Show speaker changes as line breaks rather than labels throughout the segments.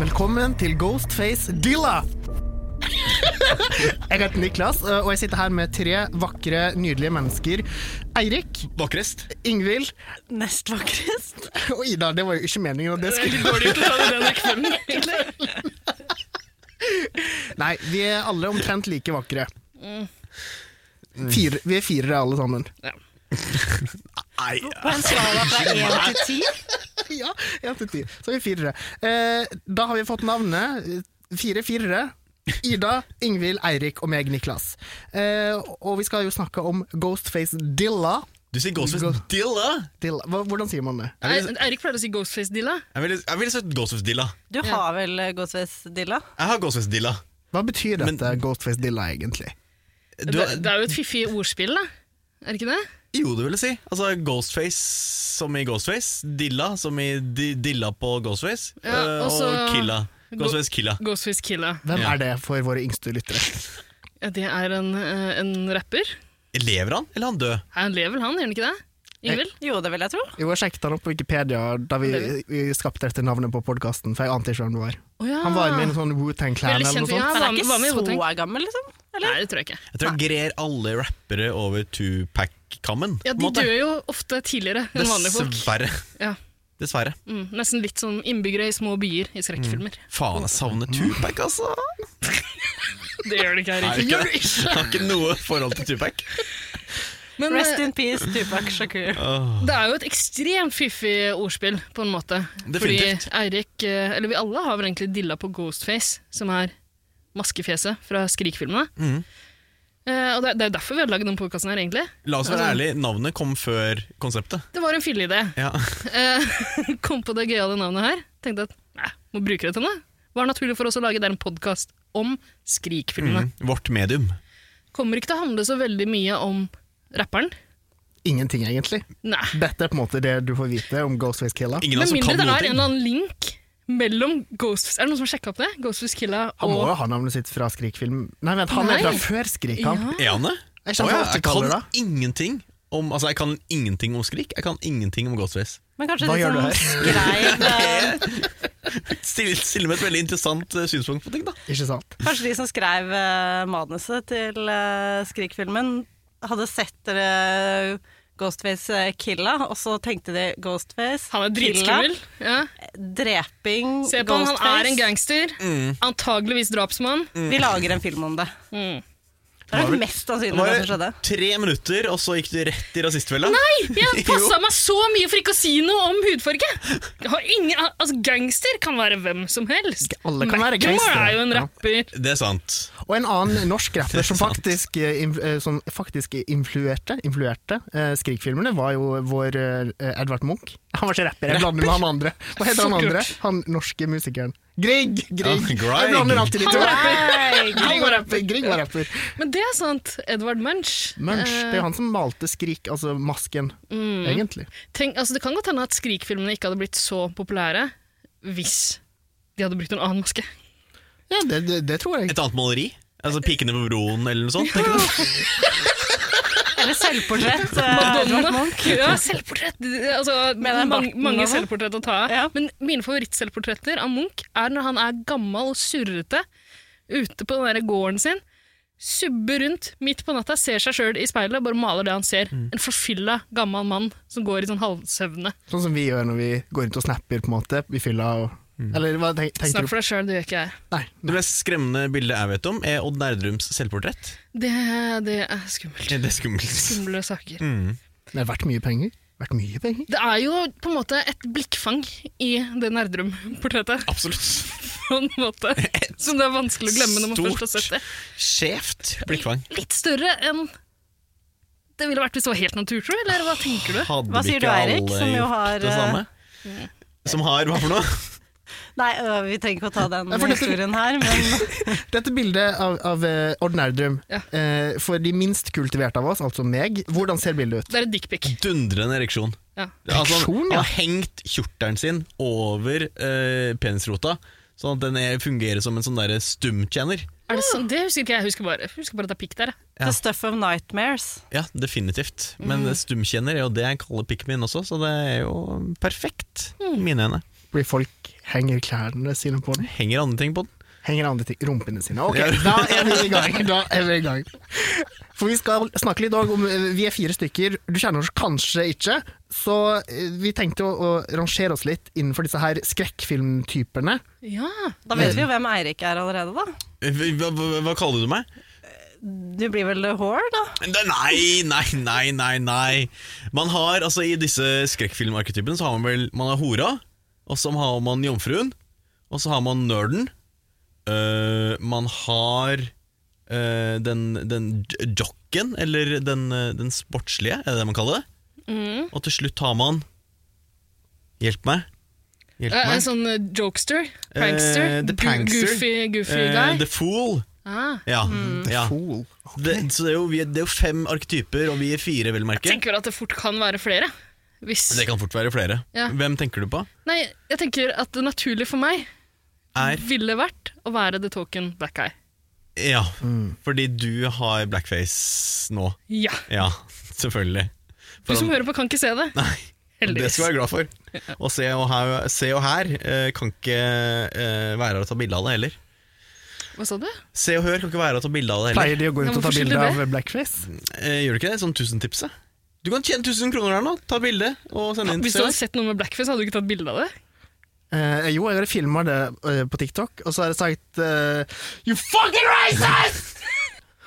velkommen til Ghostface Dilla! Jeg heter Niklas, eh, og jeg sitter her med tre vakre, nydelige mennesker. Eirik,
Vakrest.
Ingvild
Nest vakrest.
og Ida. Det var jo ikke meningen at det
Det er
skulle
litt dårlig gjort å ta det i den rekkefølgen, egentlig.
Nei, vi er alle omtrent like vakre. Fire, vi er firere alle sammen.
Nei,
På en skala fra én til ti.
Ja, én til ti. Så er vi firere. Eh, da har vi fått navnet. eh, Fire firere. Ida, Ingvild, Eirik og meg, Niklas. Eh, og vi skal jo snakke om Ghostface Dilla.
Du sier Ghostface
Ghost-
Dilla.
Dilla. Hva, hvordan sier man det?
Ei- Eirik pleier å si Ghostface Dilla.
Jeg ville jeg ville sagt Ghostface Dilla.
Du har vel eh, Ghostface-dilla?
Jeg har Ghostface Dilla.
Hva betyr dette
Men-
Ghostface Dilla egentlig?
Du,
Det, det er jo et fiffig ordspill, da. Er det ikke det?
jo, det vil jeg si. Altså Ghostface som i Ghostface. Dilla som i di, Dilla på Ghostface.
Ja,
eh,
og så-
og Killa. Ghostface Killa.
Ghostface Killa.
Hvem
Ja.
er det for våre yngste lyttere?
Ja, Det er en, eh, en rapper.
Lever han, eller er han død?
Han lever vel, han, gjør han ikke det? Ingvild?
Jo, det vil jeg tro.
Jo, jeg sjekket han opp på Wikipedia da vi, vi skapte dette navnet på podkasten, for jeg ante ikke hvem det var.
Å ja.
Han var med i en sånn Wu-Tang Clan
Ah. Veldig
eller noe
kjent, ja.
sånt.
Han
hva
er
med- hva med
ikke
Wu-Tang?
så gammel, liksom? Eller?
Nei, det tror jeg ikke.
Jeg tror jeg grer alle rappere over Tupac-kammen.
Ja,
på
De
en måte.
dør jo ofte tidligere enn vanlige folk.
Dessverre.
Ja.
Dessverre.
Mm, nesten litt som innbyggere i små byer i skrekkfilmer.
Faen, jeg savner Tupac, altså.
Det gjør det ikke, Eirik.
ikke det? Jeg har ikke noe forhold til Tupac.
Men
Rest
eh,
in peace, Tupac Shakur.
det er jo et ekstremt fiffig ordspill, på en måte.
Definitivt.
Fordi Eirik, eh, eller vi alle, har vel egentlig dilla på Ghostface, som er maskefjeset fra Skrik-filmene.
Mhm.
Eh, og det, er- det er jo derfor vi har lagd denne podkasten her, egentlig.
La oss
Altså-
være ærlige, navnet kom før konseptet.
Det var en filleidé.
Ja.
Eh, kom på det gøyale navnet her. Tenkte at nei, må bruke det til noe. Var naturlig for oss å lage det er en podkast om Skrik-filmene.
Mm. Vårt medium.
Kommer ikke til å handle så veldig mye om rapperen.
Ingenting, egentlig.
Nei.
Dette er på en måte det du får vite om Ghostface Killa.
Ingen av
Med
oss som
mindre
kan
det
noe.
er en eller annen link mellom Ghostface Er det noen som har sjekka opp det? Ghostface Killa
Han må
og
jo ha navnet sitt fra Skrik-film. Nei, vent, han er
Nei.
fra før Skrik. Han.
Ja.
Er han det?
Jeg skjønner
Å
hva
jeg
åttitaller,
kan
da.
ingenting om Altså, jeg kan ingenting om Skrik. Jeg kan ingenting om Ghostface.
Men kanskje
Hva
de
gjør
som
du
skrev eh,
Stille, stille med et veldig interessant eh, synspunkt på ting, da.
Ikke sant?
Kanskje de som skrev eh, manuset til eh, Skrik-filmen, hadde sett eh, Ghostface eh, Killa, og så tenkte de Ghostface
Han er dritskummel. Ja.
Killa, Dreping
Se på han,
Ghostface.
han er en gangster.
Mm.
Antageligvis drapsmann.
Mm.
Vi lager en film om det.
Mm.
Det er det mest
Det
sannsynlig det som
var
skjedde.
tre minutter, og så gikk du rett i rasistfella.
Nei! Jeg
Jo.
passa meg så mye for ikke å si noe om hudfarge! Jeg har ingen, al- altså, gangster kan være hvem som helst.
Alle kan være gangstere.
er jo en
Ja.
rapper.
Det er sant.
Og en annen norsk rapper som
Det er sant.
faktisk, eh, inf- eh, som faktisk influerte, influerte eh, Skrik-filmene, var jo vår eh, Edvard Munch. Han var ikke rapper, jeg blander med han andre. Hva heter han
Fort
andre?
gjort.
Han norske musikeren. Grieg! Ah, Grieg.
Ja, Grieg.
Jeg blander alltid de to. Grieg var
var
rapper. Grieg var rapper.
Men det er sant. Edvard Munch.
Munch, det er
Eh,
jo han som malte Skrik, altså masken, egentlig.
tenk, altså, det kan godt hende at Skrik-filmene ikke hadde blitt så populære hvis de hadde brukt en annen maske.
Ja, det, det, det tror jeg.
Et annet maleri. Altså Pikene på broen, eller noe sånt. tenker du?
Eller selvportrett. eh, Edvard
Madonna.
Munch.
Ja, selvportrett. Altså,
Med den
mange,
barten
mange
og sånn.
selvportrett å ta av.
Ja.
Men mine favorittselvportretter av Munch er når han er gammel og surrete ute på den der gården sin. Subber rundt midt på natta, ser seg sjøl i speilet og bare maler det han ser.
Mm.
En forfylla gammel mann som går i sånn halvsøvne.
Sånn som vi gjør når vi går rundt og snapper, på en måte, i fylla og Eller hva tenk, tenker
Snakk
du på?
for deg sjøl, det gjør ikke jeg.
Nei.
Det mest skremmende bildet jeg vet om, er Odd Nerdrums selvportrett.
Det, det er skummelt.
Det er skummelt.
Skumle saker.
Mm.
Det har vært mye penger. Vært mye penger.
Det er jo på en måte et blikkfang i det Nerdrum-portrettet.
Absolutt.
på en måte som det er vanskelig å glemme når man
Stort.
først har sett det.
Skjevt blikkfang.
Litt større enn det ville vært hvis det var helt naturtro, eller hva tenker du?
Hadde
Hva
vi
sier
ikke
du, Eirik,
alle
som jo
gjort
har, eh,
det samme? Som har hva for noe?
Nei, øh, vi trenger ikke å ta den
Nei, for dette-
historien her, men
Dette bildet av, av eh, Odd Nerdrum,
Ja.
eh, for de minst kultiverte av oss, altså meg, hvordan ser bildet ut?
Det er et dickpic.
Dundrende ereksjon.
Ja.
Altså, han-
Ereksjon, ja.
Han har hengt kjortelen sin over eh, penisrota, sånn at den er, fungerer som en sånn derre stumtjener.
Er det, sånn? det husker ikke jeg. Jeg husker bare, jeg husker bare at det er pikk der. jeg.
Ja.
The Stuff of Nightmares.
Ja, definitivt.
Mm. Mm.
Men stumtjener er jo det jeg kaller pikken min også, så det er jo perfekt i mine øyne.
Fordi folk henger klærne sine på den.
Henger andre ting på den?
Henger andre ting Rumpene sine. Ok, da er vi i gang. Da er vi i gang. For vi skal snakke litt også om eh, Vi er fire stykker. Du kjenner oss kanskje ikke. Så eh, vi tenkte å, å rangere oss litt innenfor disse her skrekkfilmtypene.
Ja.
Da
Mm.
vet vi jo hvem Eirik er allerede, da.
Eh, Hva, hva, hva kaller du meg?
Du blir vel The Whore, da?
Ne- Nei, nei, nei, nei, nei. Man har, altså I disse skrekkfilmarketypene så har man vel Man har hora, og så har man jomfruen, og så har man nerden. Øh, man har øh, den, den j- jocken, eller den, øh, den sportslige, er det det man kaller det? Og til slutt har man Hjelp meg. Hjelp
Eh,
meg.
En sånn eh, jokester? Prankster?
Eh, the
gu-
prankster.
Goofy, goofy
Eh,
guy?
the fool.
ah.
Ja. ja.
Fool. Ok.
Det, så det er, jo, vi er, det er jo fem arketyper, og vi er fire, vel å merke.
Tenker vel at det fort kan være flere. Hvis
Det kan fort være flere.
Ja.
Hvem tenker du på?
Nei, jeg tenker at det naturlige for meg
Er
ville vært å være the token black guy.
Ja, fordi du har blackface nå.
Ja.
Ja, selvfølgelig.
Du som hører på, kan ikke se det.
Nei,
Heldigvis.
Det skal du være glad for. Og Se og Her, se og her eh, kan ikke eh, være her og ta bilde av det heller.
Hva sa du?
Se og Hør kan ikke være her og ta bilde av det heller.
Pleier de å gå
Ja,
rundt og ta
hvorfor
bilde
skylder
av blackface?
Eh, gjør du ikke det? Sånn tusentipset? Du kan tjene 1000 kroner her nå, ta bilde og sende inn.
Hvis du
til
hadde sett noe med blackface, hadde du ikke tatt bilde av det?
Eh, jo, jeg har filma det eh, på TikTok, og så har jeg sagt eh, You fucking racist!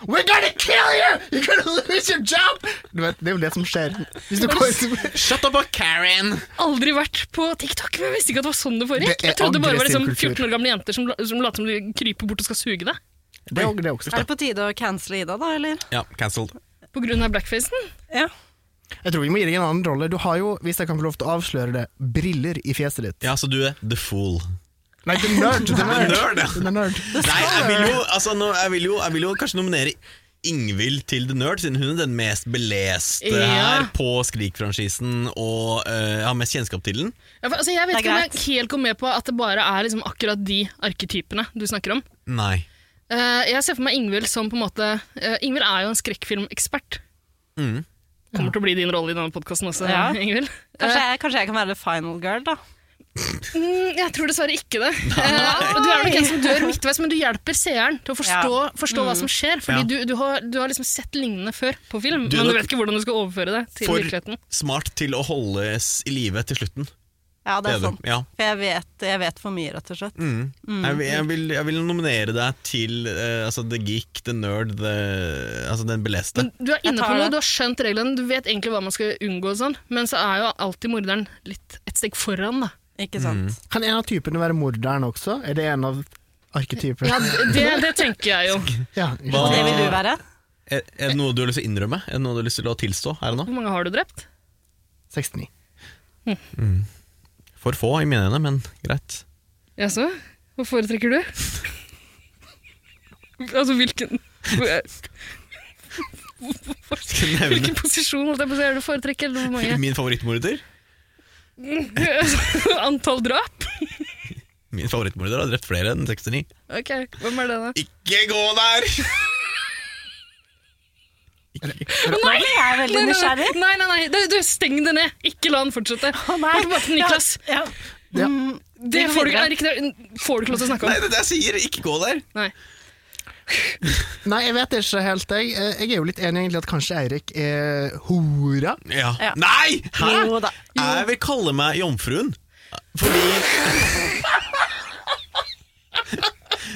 We're gonna kill you! You're gonna lose your job! Du vet, det er jo det som skjer. Hvis du kommer
Shut up, Karen!
Aldri vært på TikTok, men jeg visste ikke at det var sånn det foregikk.
Det er
Jeg trodde det bare var
aggressiv
liksom
kultur.
14 år gamle jenter som, la- som later som de kryper bort og skal suge deg.
Det er jo det er også.
Er det på tide å cancele Ida, da, eller?
Ja, cancelled.
På grunn av blackfacen.
Ja.
Jeg tror vi må gi deg en annen rolle. Du har jo, hvis jeg kan få lov til å avsløre det, briller i fjeset ditt.
Ja, så du er the fool.
Nei, det er nerd! Det er
The
nerd.
nerd, ja.
Det er nerd.
Nei, jeg vil jo, altså, nå, jeg vil jo, jeg vil jo kanskje nominere Ingvild til The Nerd, siden hun er den mest beleste
Ja.
her på Skrik-franchisen og eh, har mest kjennskap til den.
Ja, for, altså, jeg
Det
vet
er
ikke om jeg helt går med på at det bare er liksom akkurat de arketypene du snakker om.
Nei.
Eh, jeg ser for meg Ingvild som på en måte eh, Ingvild er jo en skrekkfilmekspert.
Mm.
Kommer til å bli din rolle i denne podkasten også,
Ja.
Ingvild.
Kanskje, jeg, kanskje jeg kan være the final girl, da.
Mm, jeg tror dessverre ikke det. Eh, og du er nok en som dør midtveis, men du hjelper seeren til å forstå, forstå hva som skjer. Fordi
Mm. Ja.
du, du, har, du har liksom sett lignende før på film,
Du er
men du
nok
vet ikke hvordan du skal overføre det til
For
virkeligheten.
smart til å holdes i live til slutten.
Ja, det er
du.
sånn.
Ja. Mm.
For jeg vet, jeg vet for mye, rett og slett.
Jeg, vil- jeg, vil, jeg vil nominere deg til eh, altså, The Geek, The Nerd, the, altså den beleste.
Men du er
Jeg
inne
tar
på noe,
det.
du har skjønt reglene, du vet egentlig hva man skal unngå, og sånn, men så er jo alltid morderen litt et steg foran, da.
Mm.
Ikke sant?
Kan en av typene være morderen også? Er det en av arketypene?
Ja, det, det tenker jeg jo.
Ja.
Hva-
Og det vil du være?
Er, er det noe du har lyst til å innrømme? Er det noe du har lyst til å tilstå her og nå?
Hvor mange har du drept?
69.
For få i mine øyne, men greit.
Jaså? Hva foretrekker du? altså, hvilken
Skal jeg
Hvilken
nevne
posisjon holdt jeg på å si? Er det foretrekk eller hvor mange?
min favorittmorder?
Antall drap?
Min favorittmorder har drept flere enn 69.
Ok, hvem er det da?
Ikke gå der!
Nå ble jeg veldig
Nei, nei,
nysgjerrig.
nei, nei, nei. Du, du, steng det ned! Ikke la den fortsette. Gå tilbake til Niklas.
Ja.
Ja.
Mm,
Det får du,
videre.
ikke- Erik, det får du ikke lov til å snakke
Nei,
om.
det er det jeg sier! Ikke gå der!
Nei.
Nei, jeg vet ikke helt, jeg. Eh, Jeg er jo litt enig egentlig at kanskje Eirik er hora.
Ja.
Nei! Hæ?
Jo da.
Jeg vil kalle meg jomfruen. Fordi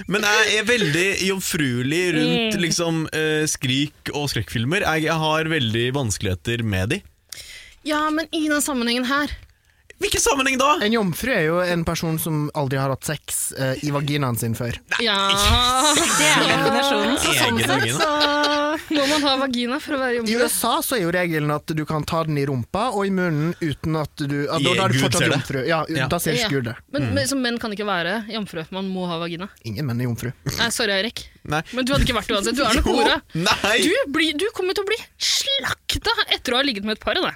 Men jeg er veldig jomfruelig rundt
Mm.
liksom, eh, skrik og skrekkfilmer. Jeg, jeg har veldig vanskeligheter med de.
Ja, men i den sammenhengen her
Hvilken sammenheng da?
En jomfru er jo en person som aldri har hatt sex eh, i vaginaen sin før.
Ja
Det er definisjonen. Så sånn
Egen
sett,
vagina.
så
Må man ha vagina for å være
I
jomfru?
USA så er jo regelen at du kan ta den i rumpa og i munnen uten at du ja, Da, da er du
Gud
fortsatt
ser det.
jomfru. Ja,
Ja.
Da ser ikke Gud det.
Mm.
Men, men som menn kan ikke være jomfru. Man må ha vagina.
Ingen menn er jomfru.
Nei, sorry, Erik.
Nei.
Men du hadde ikke vært det uansett. Du er nok hora.
Nei!
Du, blir- du kommer til å bli slakta etter å ha ligget med et par. Da.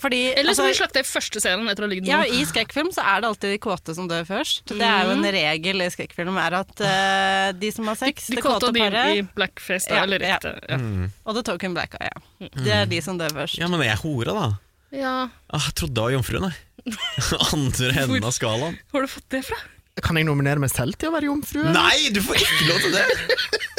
Fordi
Eller
altså,
så blir du slakta i første scenen etter å ha ligget med
ja,
noen.
I skrekkfilm så er det alltid de kåte som dør først. Det er jo en regel i skrekkfilm er at eh, de som har sex,
Mhm. De
det
kåte
kåte
og de i
paret
blackface, da,
Ja,
eller
ja.
ekte. Ja.
Mm.
og the
Mhm.
token black eye, ja. det er de som dør først.
Ja, men jeg er hora, da.
Ja.
Ah, Jeg trodde jeg var jomfruen, jeg. Andre enden av skalaen.
Hvor har du fått det fra?
Kan jeg nominere meg selv til å være jomfru? eller?
Nei, du får ikke lov til det!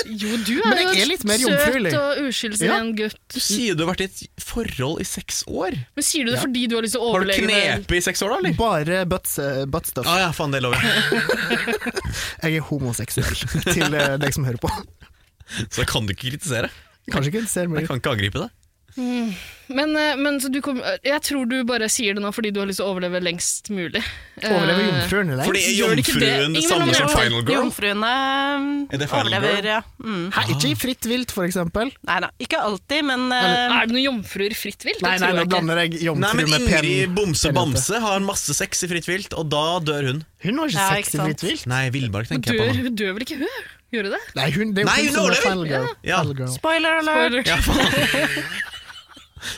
Jo, du
Men
er
jeg
jo
er litt mer
søt
jomfruelig.
og uskyldsren gutt.
Du sier du har vært i et forhold i seks år.
Men sier du det fordi du har lyst til å
Har du
overleve det?
knepet i seks år, da, eller?
Bare butts, eh, buttstuff.
ah, ja, faen, det lover jeg.
Jeg er homoseksuell, til eh, deg som hører på.
Så da kan du ikke kritisere.
Kanskje ikke ser meg
Jeg kan ikke angripe deg.
Men, eh, men så du kom, jeg tror du bare sier det nå fordi du har lyst til å overleve lengst mulig.
Overleve
Eh,
jomfruen eller?
Fordi er
Gjør det ikke det?
jomfruen det
Ingen
samme
vil
som
nominere
Final Girl?
Jomfruene
Er det
mm,
Final
overlever,
Girl?
ja. Mm.
Hæ, ikke i fritt vilt, for eksempel.
Nei da, ikke alltid, men eh,
Er det noen jomfruer i fritt vilt? Det
Nei, nei,
tror
nå
jeg ikke.
blander jeg
Nei,
jomfru
men
med pen.
Ingrid Bomse
penete.
Bamse har masse sex i fritt vilt, og da dør hun.
Hun har ikke
Ja,
sex
ikke
i
sant.
fritt vilt.
Nei, Villmark
Hun
tenker jeg på
dør,
nå.
hun dør vel ikke, hun? Gjør hun det?
Nei, hun, det er jo
Nei,
hun,
hun
som er
overlever.
final girl.
Ja.
Final girl.
spoiler alert!
Spoiler.
Ja, faen.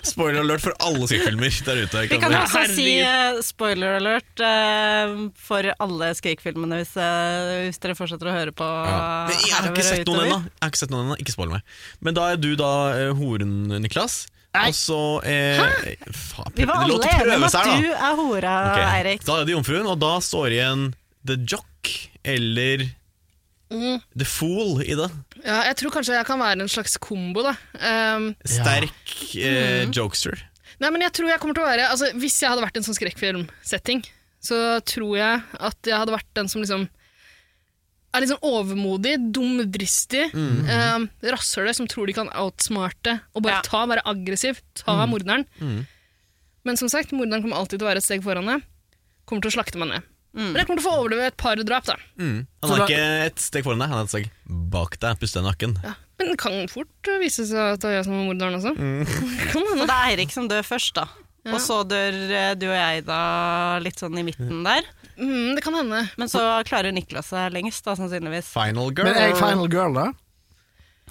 Spoiler alert for alle skrekkfilmer der ute.
Vi kan
Ja,
også si
herregud.
eh, spoiler alert eh, for alle Skrik-filmene, hvis, eh, hvis dere fortsetter å høre på.
Men Jeg har
herover
ikke
og
sett noen
utover.
ennå. Jeg har Ikke sett noen ennå, ikke spoil meg. Men da er du da eh, horen, Niklas.
Nei.
Og så eh, Faen,
Vi var
det lov
alle
til å
enige om
prøve
at
seg her,
du
da.
er hora,
Ok,
Ah, Eirik.
Da er det jomfruen, og da står igjen The Jock eller
Mm.
The Fool i det.
Ja, jeg tror kanskje jeg kan være en slags kombo, da. Um,
Sterk eh, jokester.
nei, men jeg tror jeg kommer til å være altså, Hvis jeg hadde vært i en sånn skrekkfilmsetting, så tror jeg at jeg hadde vært den som liksom er litt sånn overmodig, dumdristig, um, rasshøle som tror de kan outsmarte og bare
Ja.
ta, være aggressiv, ta morderen. Men som sagt, morderen kommer alltid til å være et steg foran deg. Kommer til å slakte meg ned. Men jeg kommer til å få overleve et par drap, da.
Mm. Han
Så
er
da-
ikke et steg foran deg, han er et steg bak deg. Puste deg i nakken.
Ja, men det kan fort vise seg at det er jeg som er morderen også. Kan
Så
hende.
det er Eirik som dør først, da. Og så dør eh, du og jeg da litt sånn i midten der.
Mm, det kan hende.
Men så klarer Niklas seg lengst, da, sannsynligvis.
Final girl.
Men er jeg final girl, da?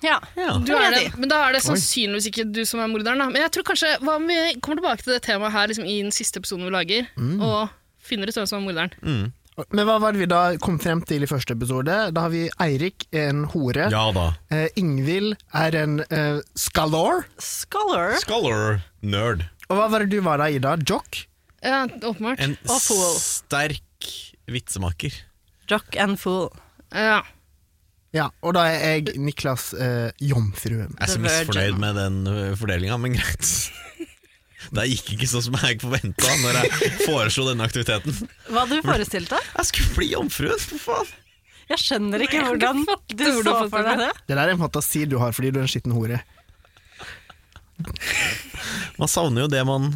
Ja.
Ja.
Du er det, men da er det sannsynligvis ikke du som er morderen. Da. Men jeg tror kanskje, hva om vi kommer tilbake til det temaet her liksom, i den siste episoden vi lager,
Mm.
og finner ut hvem som er morderen.
Men hva var det vi da kom frem til i første episode? Da har vi Eirik er en hore.
ja da.
Eh, Ingvild er en eh, skalor.
Scholar
Scholar nerd.
Og hva var det du var da, Ida? Jock?
Ja, åpenbart.
En
Og fool.
sterk vitsemaker.
Jock and Fool.
Ja.
Ja, og da er jeg Niklas eh, Jomfruen.
Jeg er så
The Virgin.
misfornøyd med den fordelinga, men greit. Det gikk ikke sånn som jeg forventa når jeg foreslo denne aktiviteten.
Hva hadde du forestilt deg?
Jeg skulle bli jomfruen, for faen!
Jeg skjønner ikke
Jeg kan
hvordan
ikke fatte
du
hvordan
så
du
for
fant
deg det.
Det der er en fantasi du har fordi du er en skitten hore.
Man savner jo det man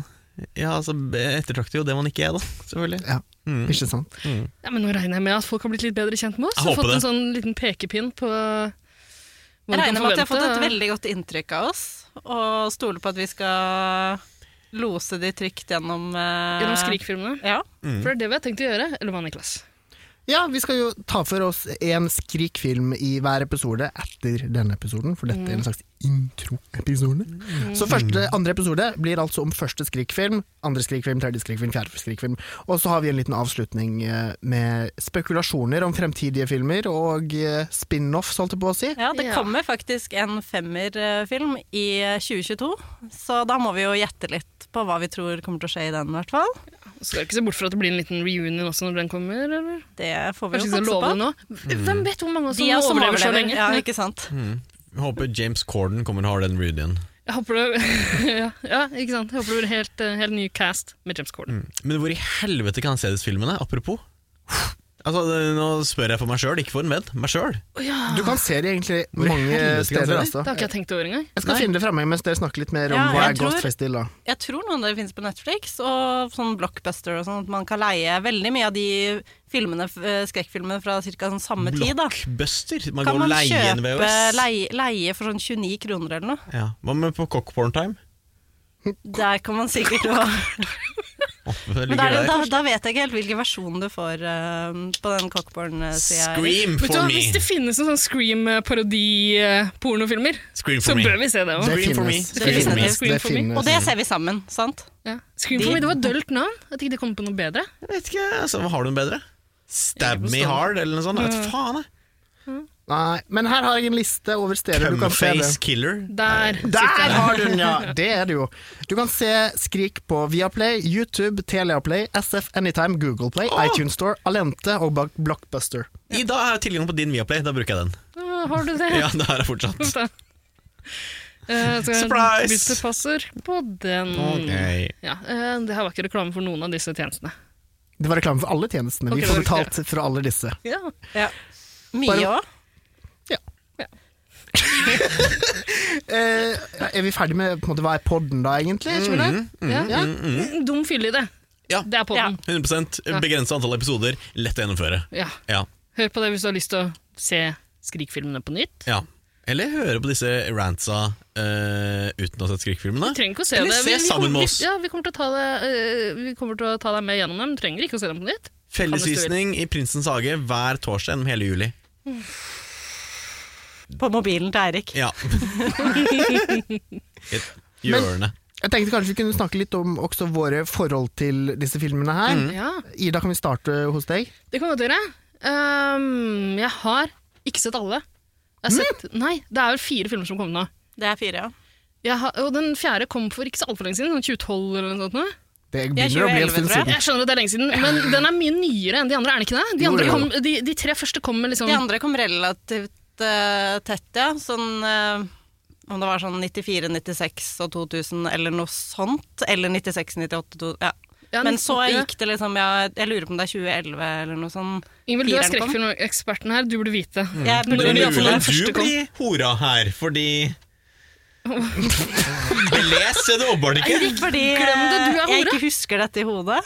Ja, altså, ettertrakter jo det man ikke er, da. Selvfølgelig.
Ja,
Mm.
Ikke sant?
ja, men nå regner jeg med at folk har blitt litt bedre kjent med oss.
Jeg
og
håper
fått
det.
en sånn liten pekepinn på hva
Jeg
du kan
regner med at de har fått et
forvente.
veldig godt inntrykk av oss, og stoler på at vi skal lose de trygt gjennom eh,
Gjennom Skrik-filmene.
Ja.
Mm.
For det er det vi har tenkt å gjøre. Eller hva, Niklas?
Ja, vi skal jo ta for oss en skrikfilm i hver episode etter denne episoden, for dette er en slags introepisode. Så første, andre episode blir altså om første skrikfilm, andre skrikfilm, tredje skrikfilm, fjerde skrikfilm. Og så har vi en liten avslutning eh, med spekulasjoner om fremtidige filmer og eh, spin-offs, holdt jeg på å si.
ja, det
Ja.
kommer faktisk en femmerfilm i 2022, så da må vi jo gjette litt på hva vi tror kommer til å skje i den, i hvert fall.
Skal ikke se bort fra at det blir en liten reunion også når den kommer? Eller?
Det får vi
Kanskje
jo
vi skal
satse
love
på.
det nå?
Mm.
Hvem vet hvor mange som,
De er som
overlever,
overlever
så lenge?
Ja, ikke sant?
Jeg håper James Corden kommer og har den reunionen.
Jeg håper det ja, ja, ikke sant? Jeg håper det blir helt, eh, helt ny cast med James
Mm.
Corden.
Men hvor i helvete kan jeg se disse filmene? Apropos. Altså, det- Nå spør jeg for meg sjøl, ikke for en venn. Meg sjøl.
Å ja.
Du kan se det egentlig
Hvor i
mange
helvete skal jeg se
steder,
det?
altså.
Det har ikke jeg tenkt over engang.
Jeg skal finne det fra meg mens dere snakker litt mer om
Ja,
hva
jeg
er
tror-
Ghostface til, da.
Jeg tror noen av det finnes på Netflix, og sånn blockbuster og sånn, at man kan leie veldig mye av de filmene, eh, skrekkfilmene fra ca. Sånn samme tid, da.
Blockbuster. Man
Kan
går og
man
leier en
kjøpe
VHS.
leie, leie for sånn 29 kroner eller noe?
Ja. Hva med på Cockporn Time?
Der kan man sikkert gå.
Å, det
Men da,
ligger
er det- da,
der.
da vet jeg ikke helt hvilken versjon du får eh, på den cockborn-sida.
Scream
Vet du
for
hva,
me!
Hvis det finnes en sånn Scream-parodi-pornofilmer,
Scream
så
for me.
bør vi se det òg.
Det
Scream for me.
finnes.
Scream
for me.
Scream
Det
for me.
finnes.
Og det ser vi sammen, sant?
Ja. Scream for me, Det var dølt navn. At ikke det kom på noe bedre.
Jeg vet ikke, altså, Har du en bedre? Stab
Ikke på
me
stående.
Mm.
hard, eller noe sånt? Jeg vet faen, jeg.
Nei, men her har jeg en liste over steder du kan se det.
Cumface Killer.
Der sitter
Der
jeg.
har du den, ja! Det er det jo. Du kan se Skrik på Viaplay, YouTube, Teleaplay, SF Anytime, Google Play,
Åh!
iTunes Store, Alente og Block- Blockbuster.
I dag har jeg tilgang på din Viaplay, da bruker jeg den.
Å, Har du det?
Ja, det har jeg fortsatt.
Eh, så
Surprise!
Bytte passord på den. Ja, eh, det her var ikke reklame for noen av disse tjenestene.
Det var reklame for alle tjenestene.
Ok,
Vi får
det var-
betalt fra alle disse.
Ja.
Ja. Mye
Bare-
òg.
Eh, er vi ferdig med på en måte, hva er podden da, egentlig? Tror vi det?
Mhm. Mm.
ja.
Ja.
Dum fylle i det.
Ja.
Det er på den.
100 Begrenset antall episoder, lett å gjennomføre.
Ja.
Ja.
Hør på det hvis du har lyst til å se Skrik-filmene på nytt.
ja. Eller høre på disse rantsa eh, uten å ha sett Skrik-filmene.
Du trenger ikke å se
Eller
det.
se sammen med
vi,
oss.
Ja, vi kommer til å ta deg, eh, vi kommer til å ta deg med gjennom dem. Du trenger ikke å se dem på nytt.
Fellesvisning i Prinsens hage hver torsdag gjennom hele juli.
På mobilen til Eirik.
Ja. Et hjørne.
Jeg tenkte kanskje vi kunne snakke litt om også våre forhold til disse filmene her.
Ja,
Ida, kan vi starte hos deg?
Det kan godt gjøre. Ehm, jeg har ikke sett alle. Jeg har sett, Nei, det er vel fire filmer som kom nå.
Det er fire, ja.
Jeg har, og den fjerde kom for ikke så altfor lenge siden, sånn 2012 eller noe sånt. nå.
Det
Jeg
begynner å bli en
2011,
stund
tror
siden.
Jeg skjønner at det er lenge siden, men den er mye nyere enn de andre, er den ikke det? De,
Jo,
andre
jo,
kom,
jo.
de, de tre første kom med liksom
De andre kom relativt eh, tett, ja. Sånn eh, om det var sånn 94, 96 og 2000 eller noe sånt. Eller 96, 98, to- ja.
Ja,
Men så
98, ja.
gikk det liksom ja, Jeg lurer på om det er 2011 eller noe sånt.
Ingvild, du er
fireren Mm. kom.
skrekkfilmeksperten her, du burde vite.
Jeg
Det
Nå
burde
er
er
Mm. det
mulig
iallfall den
sånn.
du
første kom.
blir hora her, fordi Les det åpenbart ikke.
Eirik, fordi eh,
Glem det, du er
jeg
hore.
ikke husker dette i hodet.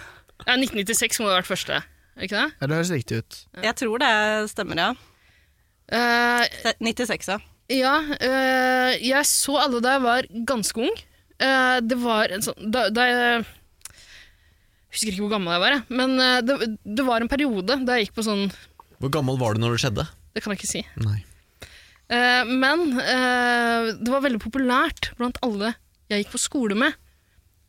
Ja, 1996 må det ha vært første, er ikke det?
Ja, det høres riktig ut.
Jeg tror det stemmer, ja.
Eh,
Det- 96, ja.
Ja, øh, jeg så alle da jeg var ganske ung. Eh, det var en sånn da, da jeg jeg husker ikke hvor gammel jeg var, jeg. men eh, det, det var en periode da jeg gikk på sånn
Hvor gammel var du når det skjedde?
Det kan jeg ikke si.
Nei.
Eh, men eh, det var veldig populært blant alle jeg gikk på skole med,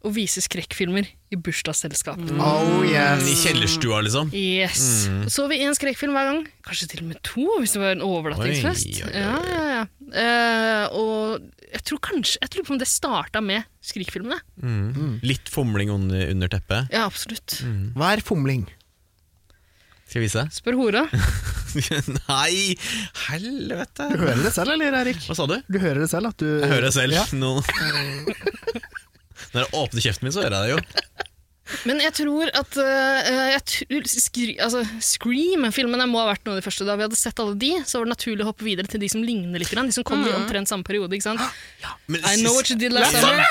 å vise skrekkfilmer i bursdagsselskap.
Oh yes.
I kjellerstua, liksom?
Yes. Så vi en skrekkfilm hver gang. Kanskje til og med to, hvis det var en overnattingsfest.
Oi, oi, oi.
Ja, ja, ja. Eh, og jeg tror kanskje Jeg lurer på om det starta med skrikfilmene. Mm.
Litt fomling under, under teppet.
Ja, absolutt.
Mm.
Hva er fomling?
Skal jeg vise?
Spør hora.
Nei, helvete!
Du hører det selv, eller, Erik?
Hva sa du?
Du hører det selv? At du
Jeg hører det selv.
Ja.
Nå- Når jeg åpner kjeften min, så hører jeg det jo.
Men jeg tror at eh, jeg tror, skri, altså, Scream-filmene må ha vært noen av de første. Da vi hadde sett alle de, så var det naturlig å hoppe videre til de som ligner litt. grann, De som kom i omtrent samme periode. ikke sant?
Men
I know what you did Mm. last summer.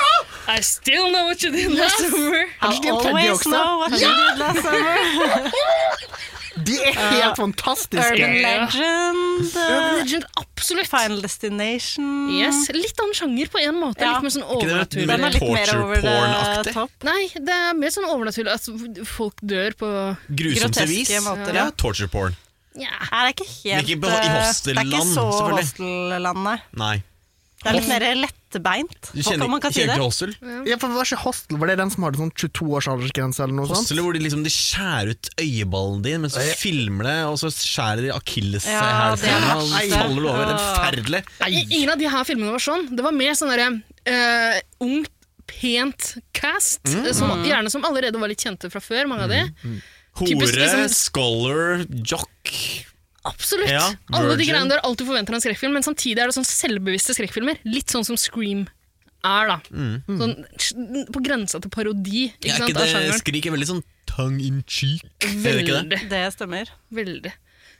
I still know what you did last summer.
Kanskje de er tredje også?
what you did last summer.
De er helt fantastiske!
Urban Legend. eh,
Legend, absolutt.
Final Destination.
Yes, Litt annen sjanger på en måte.
Ja.
Litt mer sånn
Ikke det
overnaturlig.
mer-
Den er litt mer
Torture
over
porn-aktig.
the top.
Nei, det er mer sånn overnaturlig at folk dør på
Grusomt
Groteske
vis.
måter,
ja,
ja.
torture porn.
Nja.
Nei, det er ikke helt
Ikke på- i
eh, Det er
hostelland,
ikke så
selvfølgelig.
hostelland, nei.
Nei.
Det er litt mer lettbeint.
Du
Hva
kjenner,
kan man kan si
kjenner
det?
til Hostel?
Ja, for Hva slags hostel var det? Den som hadde sånn 22 års aldersgrense eller noe sånt?
Hostel hvor de, liksom, de skjærer ut øyeballen din, men så filmer det, og så skjærer de
Ja, det er
akilleshælen og
verst, det.
faller du over.
Ja.
Forferdelig.
I- Ingen av de her filmene var sånn. Det var mer sånn derre eh, ungt, pent cast.
Mm.
Som, gjerne som allerede var litt kjente fra før, mange av de. Typisk,
Hore,
liksom-
scholar, jock.
Absolutt!
Ja,
Alle de
virgin.
greiene du har alltid forventer av en skrekkfilm, men samtidig er det sånn selvbevisste skrekkfilmer. Litt sånn som Scream er, da. Sånn, sj- på grensa til parodi ikke
Mm. Er
sant,
ikke
av
det
sjangeren.
skrik er veldig sånn tongue in cheek? Er det ikke det?
Veldig.
Det stemmer.
Veldig.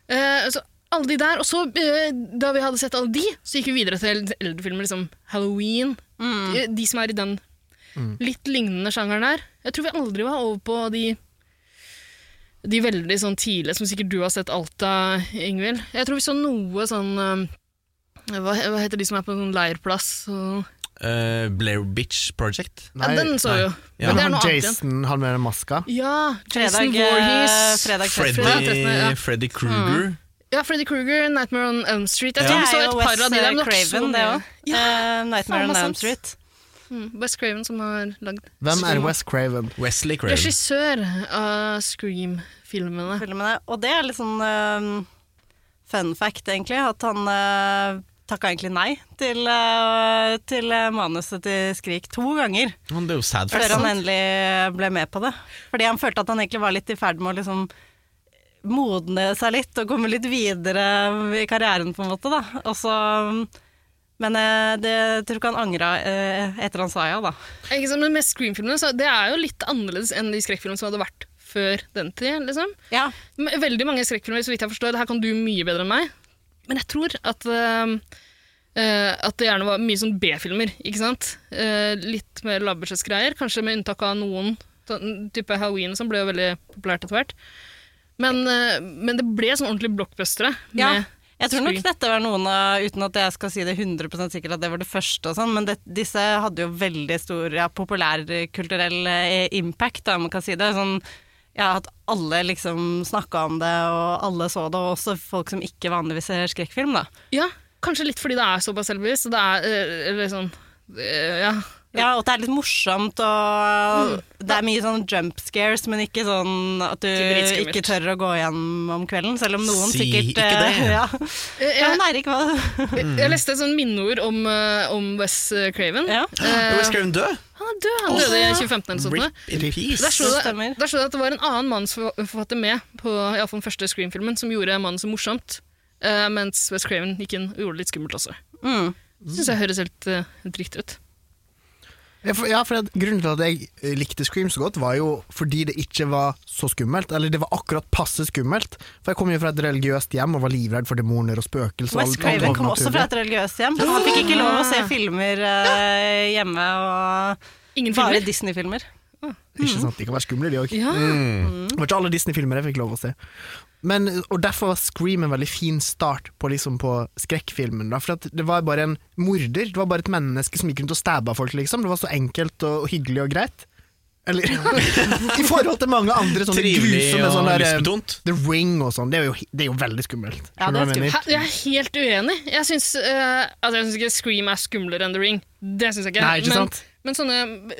Eh, så alle de der, og så eh, Da vi hadde sett alle de, så gikk vi videre til eldre filmer, liksom Halloween.
Mm.
De, de som er i den litt lignende sjangeren der. Jeg tror vi aldri var over på de de veldig sånn tidlige, som sikkert du har sett alt av, Ingvild. Jeg tror vi så noe sånn eh, hva, hva heter de som er på en sånn leirplass? Og...
Eh, Blair Bitch Project.
Ja, den så vi jo.
Ja.
Men det er
han
noe annet igjen.
Jason, han med den maska.
Ja, Jason
Fredag, eh,
Voorhees.
fredag
Freddy,
Fredag trettende, ja.
Freddy Kruger.
Mm.
Ja, Freddy Krueger, Nightmare on Elm Street. Jeg
Det
tror vi så
er
et
jo
par av
Wes eh,
de der. men det var ikke så
Craven, det
mange.
òg. Nightmare on
faen, det
Elm
er sant.
Street.
Mm, Wes Craven som har lagd
Hvem er
Scream.
Wes Craven?
Wesley Craven.
Regissør av Scream-filmene.
filmene. Og det er litt sånn øhm, fun fact, egentlig. At han uh, takka egentlig nei til, eh, til eh, manuset til Skrik to ganger.
Men det er jo sad
Før
fact.
han endelig ble med på det. Fordi han følte at han egentlig var litt i ferd med å liksom modne seg litt og komme litt videre i karrieren, på en måte. da. Og så- men eh, det jeg tror ikke han angra eh, etter han sa ja, da.
Ikke sant, men med Scream-filmene så det er jo litt annerledes enn de skrekkfilmene som hadde vært før den tid. liksom.
Ja,
Men Veldig mange skrekkfilmer, så vidt jeg forstår, det her kan du mye bedre enn meg, men jeg tror at, øhm, øh, at det gjerne var mye sånn B-filmer, ikke sant? Eh, litt mer lavbudsjettsgreier, kanskje med unntak av noen, sånn type Halloween som ble jo veldig populært etter hvert. Men, øh, men det ble sånn ordentlig blockbustere.
ja.
med-
Jeg tror nok
Scream.
dette var noen av Uten at jeg skal si det 100 sikkert at det var det første, og sånn, men det, disse hadde jo veldig stor ja, populærkulturell eh, impact, da, om man kan si det. Sånn, ja, at alle liksom snakka om det, og alle så det, og også folk som ikke vanligvis ser skrekkfilm. da.
Ja, kanskje litt fordi det er såpass selvbevisst, så det er øh, eller sånn, øh, ja.
Ja, og at det er litt morsomt, og det er mye sånn jump scares, men ikke sånn at du
dritskummelt.
ikke tør å gå hjem om kvelden, selv om noen
Si
sikkert
ikke det.
eh, Ja,
Eh,
ja
jeg-
men Eirik, hva
Jeg leste et sånn minneord om, eh, om Wes eh, Craven.
Mm. Ja.
Jo,
Eh,
Wes Craven død?
han er død, han døde i 2015
sånn,
eller sånt.
Rip in
Der
peace.
sto det,
Stemmer.
der sto det at det var en annen manusforfatter med på i alle fall den første Scream-filmen som gjorde manuset morsomt, eh, mens Wes Craven gikk inn og gjorde det litt skummelt også.
mm.
Syns jeg høres helt, eh, helt riktig ut.
Ja, for, ja, for at Grunnen til at jeg eh, likte Scream så godt, var jo fordi det ikke var så skummelt. Eller det var akkurat passe skummelt. For jeg kom jo fra et religiøst hjem og var livredd for demoner og spøkelser. og
Wes
alt
Craven kom også fra
overnaturlig.
et religiøst hjem. Han fikk ikke lov å se filmer eh, hjemme, og
Ingen
bare
filmer.
Disney-filmer. Mm.
Ikke sant, De kan være skumle, de òg.
Ja.
Mm.
Det var ikke alle Disney-filmer jeg fikk lov å se. Men, og Derfor var Scream en veldig fin start på, liksom, på skrekkfilmen. Da, for at det var bare en morder, det var bare et menneske som gikk rundt og stabba folk. Liksom. Det var så enkelt og hyggelig og greit. Eller I forhold til mange andre sånne
Sånn Trivelig
grusomme
og
sånne der,
lystbetont.
The Ring og sånn. Det, er jo- det er jo veldig skummelt.
Ja,
Skjønner du hva
det er
jeg
Hæ,
mener?
Jeg er helt uenig. Jeg syns altså jeg syns ikke Scream er skumlere enn The Ring. Det syns jeg ikke.
Nei, ikke sant?
Men, men sånne,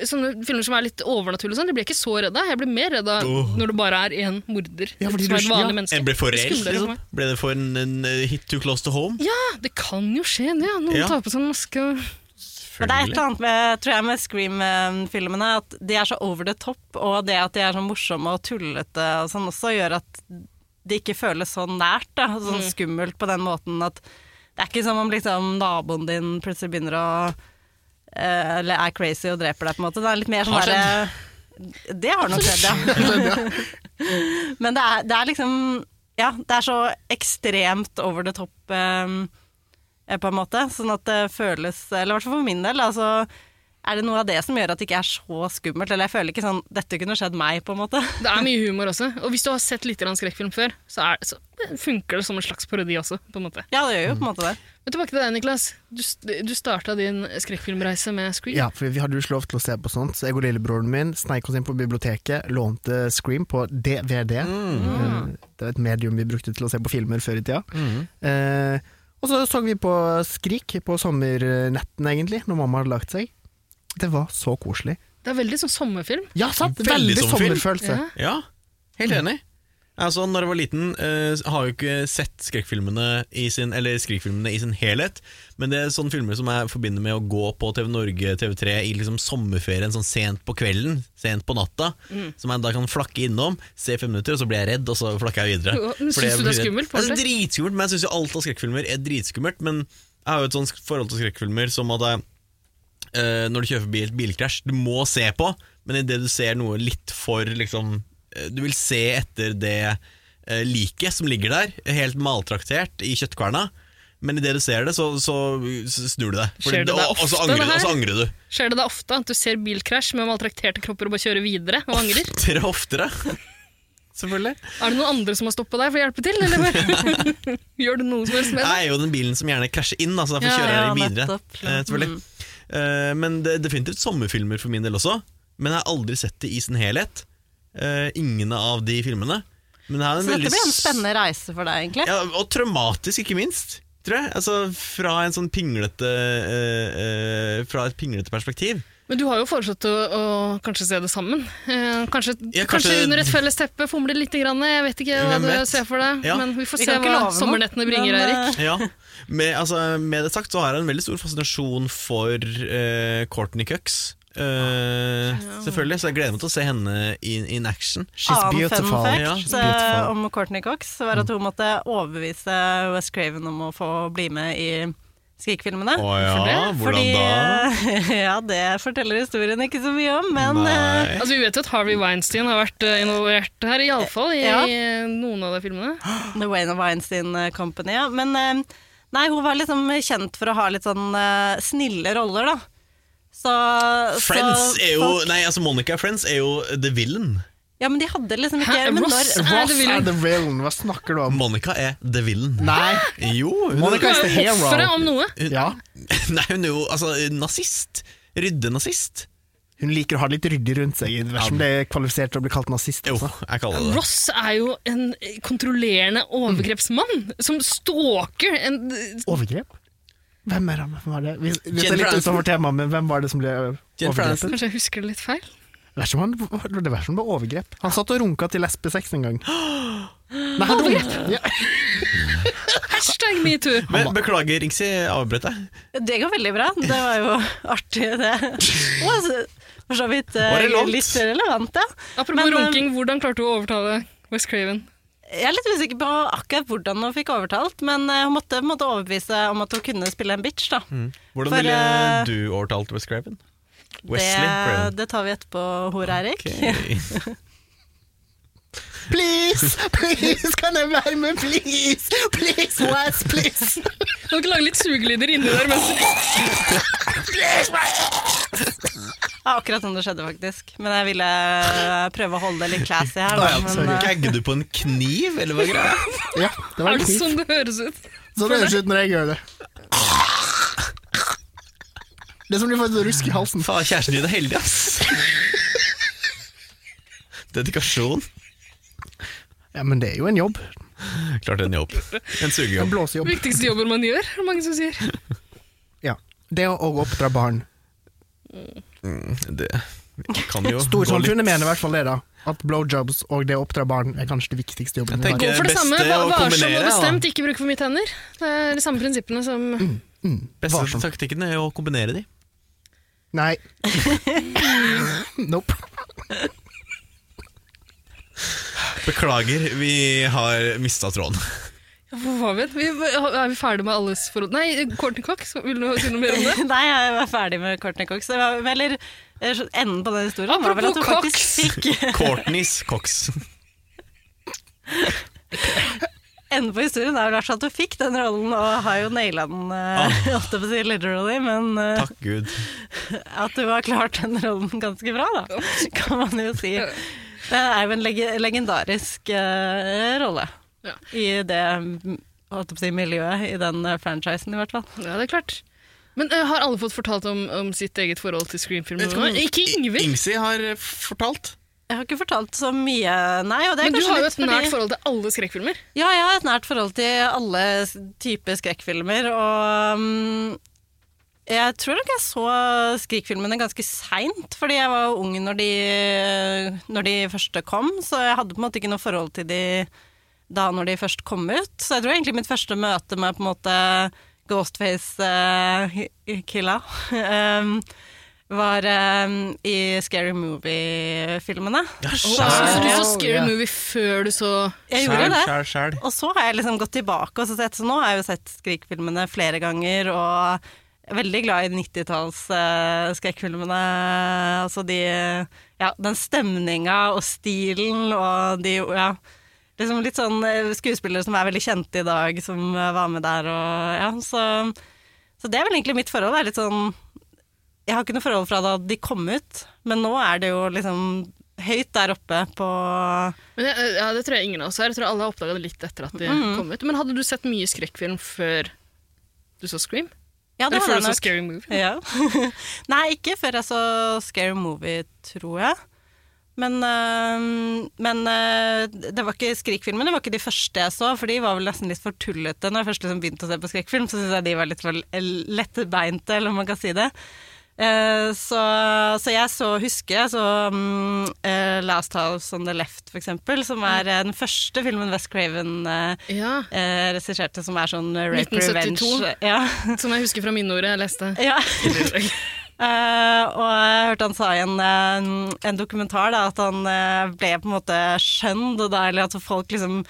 sånne filmer som er litt overnaturlige, og sånn, de blir jeg ikke så redd av. Jeg blir mer redd av
Åh.
når det bare er én morder.
Ja, fordi
som
du-
er et
ja.
vanlig menneske.
En ble for reell?
Skumlere for
Liksom.
meg.
Ble det for en, en eh, hit too close to home?
Ja, det kan jo skje, det. Ja. Noen
Ja.
tar på seg en maske. og-
Men det er et eller annet med, tror jeg, med Scream-filmene, at de er så over the top, og det at de er så morsomme og tullete og sånn også, gjør at det ikke føles så nært, da. Sånn skummelt på den måten at det er ikke som om liksom naboen din plutselig begynner å eh, Eller er crazy og dreper deg, på en måte. Det er litt mer sånn
Har
derre Det har nok skjedd, ja. Men det er, det er liksom Ja, det er så ekstremt over the top. eh, eh, på en måte. Sånn at det føles Eller i hvert fall for min del, da, så er det noe av det som gjør at det ikke er så skummelt. Eller jeg føler ikke sånn Dette kunne skjedd meg, på en måte.
Det er mye humor også. Og hvis du har sett litt grann skrekkfilm før, så, er, så funker det som en slags parodi også. på en måte.
Ja, det gjør jo på en måte det.
Mm.
Men tilbake til deg, Niklas. Du, du starta din skrekkfilmreise med Scream.
Ja, for vi hadde jo ikke lov til å se på sånt, så jeg og lillebroren min sneik oss inn på biblioteket, lånte Scream på DVD.
Mm.
Eh, Det var et medium vi brukte til å se på filmer før i tida.
Mm.
Eh, og så så vi på Skrik på sommernetten, egentlig, når mamma hadde lagt seg. Det var så koselig.
Det er veldig sånn sommerfilm.
Ja, sant?
Veldig sånn
Veldig,
sommerfilm.
sommerfølelse.
Ja.
Ja, helt enig. Altså, når jeg var liten, eh, har jeg jo ikke sett skrekkfilmene i sin, eller skrekkfilmene i sin helhet, men det er sånne filmer som jeg forbinder med å gå på TV Norge, TV3, i liksom sommerferien, sånn sent på kvelden, sent på natta,
Mm.
som jeg da kan flakke innom, se fem minutter, og så blir jeg redd, og så flakker jeg videre.
Jo,
Fordi
men
jeg
synes du det er
blir redd. Jeg
skummelt,
synes
Bård?
det er dritskummelt, men jeg synes jo alt av skrekkfilmer er dritskummelt, men jeg har jo et sånt forhold til skrekkfilmer som at jeg eh, når du kjører forbi et bilkrasj. Du må se på, men idet du ser noe litt for liksom, eh, Du vil se etter det uh, liket som ligger der, helt maltraktert i kjøttkverna. Men idet du ser det, så, så så snur du deg.
Skjer det deg
og, og, så
ofte,
angrer, du-
det
og
her?
så angrer du.
Skjer det da ofte at du ser bilkrasj med maltrakterte kropper og bare kjører videre og angrer?
Oftere og oftere. Selvfølgelig.
Er det noen andre som har stoppa deg for å hjelpe til, eller bare- gjør du noe som helst med det?
Jeg er jo den bilen som gjerne krasjer inn, da, så derfor
Ja,
kjører jeg
ja, Mm.
videre.
nettopp.
eh, selvfølgelig. Eh, men det er definitivt sommerfilmer for min del også. Men jeg har aldri sett det i sin helhet. Eh, ingen av de filmene. Men det er en
Så dette
veldig
blir en
s-
spennende reise for deg, egentlig.
Ja, og traumatisk, ikke minst. Tror jeg. Altså, fra, en sånn pinglete, eh, eh, fra et pinglete perspektiv.
Men du har jo foreslått å, å kanskje se det sammen. Eh, kanskje,
Ja,
kanskje,
kanskje-
under et felles teppe fomle litt. Grann. Jeg vet ikke hva
Hvem
du
vet?
ser for deg,
Ja.
men vi får
Vi
se
kan ikke
hva
love noe,
sommernettene bringer,
men,
Erik.
Ja, med, altså, med det sagt så har jeg en veldig stor fascinasjon for eh, Courtney Cox. Eh, Selvfølgelig, så jeg gleder meg til å se henne in, in action.
She's
Annen
beautiful.
fun
Ja,
fact
she's beautiful.
eh, om Courtney Cox var
Mm.
at hun måtte overbevise West Craven om å få bli med i Skrik-filmene.
Å ja,
det?
hvordan da?
Fordi, ja, det forteller historien ikke så mye om, men eh,
Nei.
Altså, vi vet jo at Harvey Weinstein har vært eh, involvert her, iallfall i,
Ja.
i eh, noen av de filmene.
The Wayne and Weinstein Company, ja. Men eh, nei, hun var liksom kjent for å ha litt sånn eh, snille roller, da. Så,
Friends
så,
er jo Nei, altså Monica Friends er jo the villain.
Ja, men de hadde liksom ikke
Hæ?
men
Ross?
når,
Er
Ross
det
er
villain?
the villain. Hva snakker du om?
Monica er the villain.
Nei,
Jo, hun,
Monica is the hero.
Offeret om noe.
Ja,
nei, hun er jo altså nazist. Ryddenazist.
hun liker å ha det litt ryddig rundt seg, dersom det er kvalifisert til å bli kalt nazist.
Jo,
Altså.
jeg kaller det det.
Ross er jo en kontrollerende overgrepsmann som stalker en
Overgrep? Hvem er han? Hvem var det? Vi, vi
Jennifer
er litt
Aniston.
utenfor temaet, men hvem var det som ble
Jennifer
overgrepet?
Aniston.
Kanskje jeg husker det litt feil?
Det er som han- det var som det ble overgrep. Han satt og runka til lesbesex en gang. Nei, han runka- Ja.
Hashtag metoo!
Men beklager, Ringsi, avbrøt deg.
Det går veldig bra. Det var jo artig, det. Og altså, For så vidt eh,
Var det langt?
litt relevant, ja.
Apropos
Men, eh,
runking, hvordan klarte du å overtale West Craven?
Jeg er litt usikker på akkurat hvordan hun fikk overtalt, men eh, hun måtte, måtte overbevise om at hun kunne spille en bitch, da.
Hvordan
For,
ville
eh,
du overtalt Wes Craven? Wesley
Det,
Craven.
det tar vi etterpå, hore Erik.
Ok.
Please, please, kan jeg være med, please? Please, Wes, please.
Du kan ikke lage litt sugelyder inni der mens
Ja, akkurat som det skjedde, faktisk. Men jeg ville eh, prøve å holde det litt classy her.
Ah,
Da,
ja,
men,
sorry.
eh,
Gagger du på en kniv, eller hva er greia?
Ja, det var
Er
en
det
kniv.
sånn det høres ut?
Sånn høres det ut når jeg gjør det. Det er som om du får et rusk i halsen.
Faen, kjæresten din er heldig, ass. Dedikasjon.
Ja, men det er jo en jobb.
Klart en jobb. En
En
sugejobb.
blåsejobb.
Viktigste jobben man gjør, er det mange som sier.
Ja. Det å oppdra barn.
Det kan jo
Storsamfunnet mener i hvert fall det, da. At blowjobs og det å oppdra barn er kanskje det viktigste jobben
Jeg
vi har.
Gå for det
beste å
samme. va- Varsom
kombinere,
og
da.
bestemt, ikke bruke for mye tenner. Det er de samme prinsippene som
Beste taktikken er å kombinere de.
Nei. nope.
Beklager, vi har mista tråden.
Ja, Hvor var vi? vi? Er vi ferdige med alles forhold? Nei, Courtney Cox, vil du si noe mer om det?
eh, Nei, jeg var ferdig med Courtney Cox. Det var- Eller eh, så- enden på den historien var vel at hun
Apropos
faktisk fikk
Courtneys Cox.
Enden på historien er vel altså at hun fikk den rollen, og har jo naila den,
Ah.
eh, holdt jeg på å si, literally, men eh,
Takk Gud.
at hun har klart den rollen ganske bra, da, kan man jo si. Det er jo en lege- legendarisk eh, rolle
Ja.
i det mm, holdt jeg på å si, miljøet, i den eh, franchisen i hvert fall.
Ja, det er klart. Men eh, har alle fått fortalt om, om sitt eget forhold til screenfilmer? nå? Ikke Ingvild,
Ingsi har fortalt.
Jeg har ikke fortalt så mye, nei, og det er
men du
kanskje
har jo
litt
et nært
fordi-
forhold til alle skrekkfilmer.
Ja, jeg har et nært forhold til alle s- typer skrekkfilmer, og mm, jeg tror nok jeg så skrikfilmene ganske seint, fordi jeg var jo ung når de, når de første kom, så jeg hadde på en måte ikke noe forhold til de da når de først kom ut. Så jeg tror egentlig mitt første møte med på en måte eh, Ghostface-killa ehm, var eh, i Scary Movie-filmene.
Så
Ja,
så du
ja.
så Scary Movie før du så
Jeg gjorde det.
Skjæl, skjæl.
Og så har jeg liksom gått tilbake og så sett, så nå har jeg jo sett Skrik-filmene flere ganger, og jeg er veldig glad i 90-talls eh, skrekkfilmene. Altså de Ja, den stemninga og stilen og de Ja. Liksom litt sånn eh, skuespillere som er veldig kjente i dag, som eh, var med der og Ja, så Så det er vel egentlig mitt forhold. Det er litt sånn Jeg har ikke noe forhold fra da de kom ut, men nå er det jo liksom høyt der oppe på
Men jeg, ja, Det tror jeg ingen av oss er. Jeg tror alle har oppdaga det litt etter at de
Mm.
kom ut. Men hadde du sett mye skrekkfilm før du så Scream?
Ja,
Eller
det
før
var det
du så
nok.
Scary Movie?
Ja. Nei, ikke før jeg så Scary Movie, tror jeg. Men, øhm, men øh, det var ikke Skrik-filmene var ikke de første jeg så, for de var vel nesten litt for tullete. Når jeg først liksom begynte å se på skrekkfilm, så syntes jeg de var litt for l- lettbeinte, eller om man kan si det. Eh, så, så jeg så husker så mm, eh, Last House on the Left, for eksempel, som er eh, den første filmen West Craven eh,
Ja,
eh, regisserte, som er sånn eh, rape
1972.
revenge. eh, Ja.
Som Sånn jeg husker fra minneordet jeg leste.
ja. Eh, og jeg hørte han sa i en, eh, en dokumentar da, at han eh, ble på en måte skjønt, og da, eller at folk liksom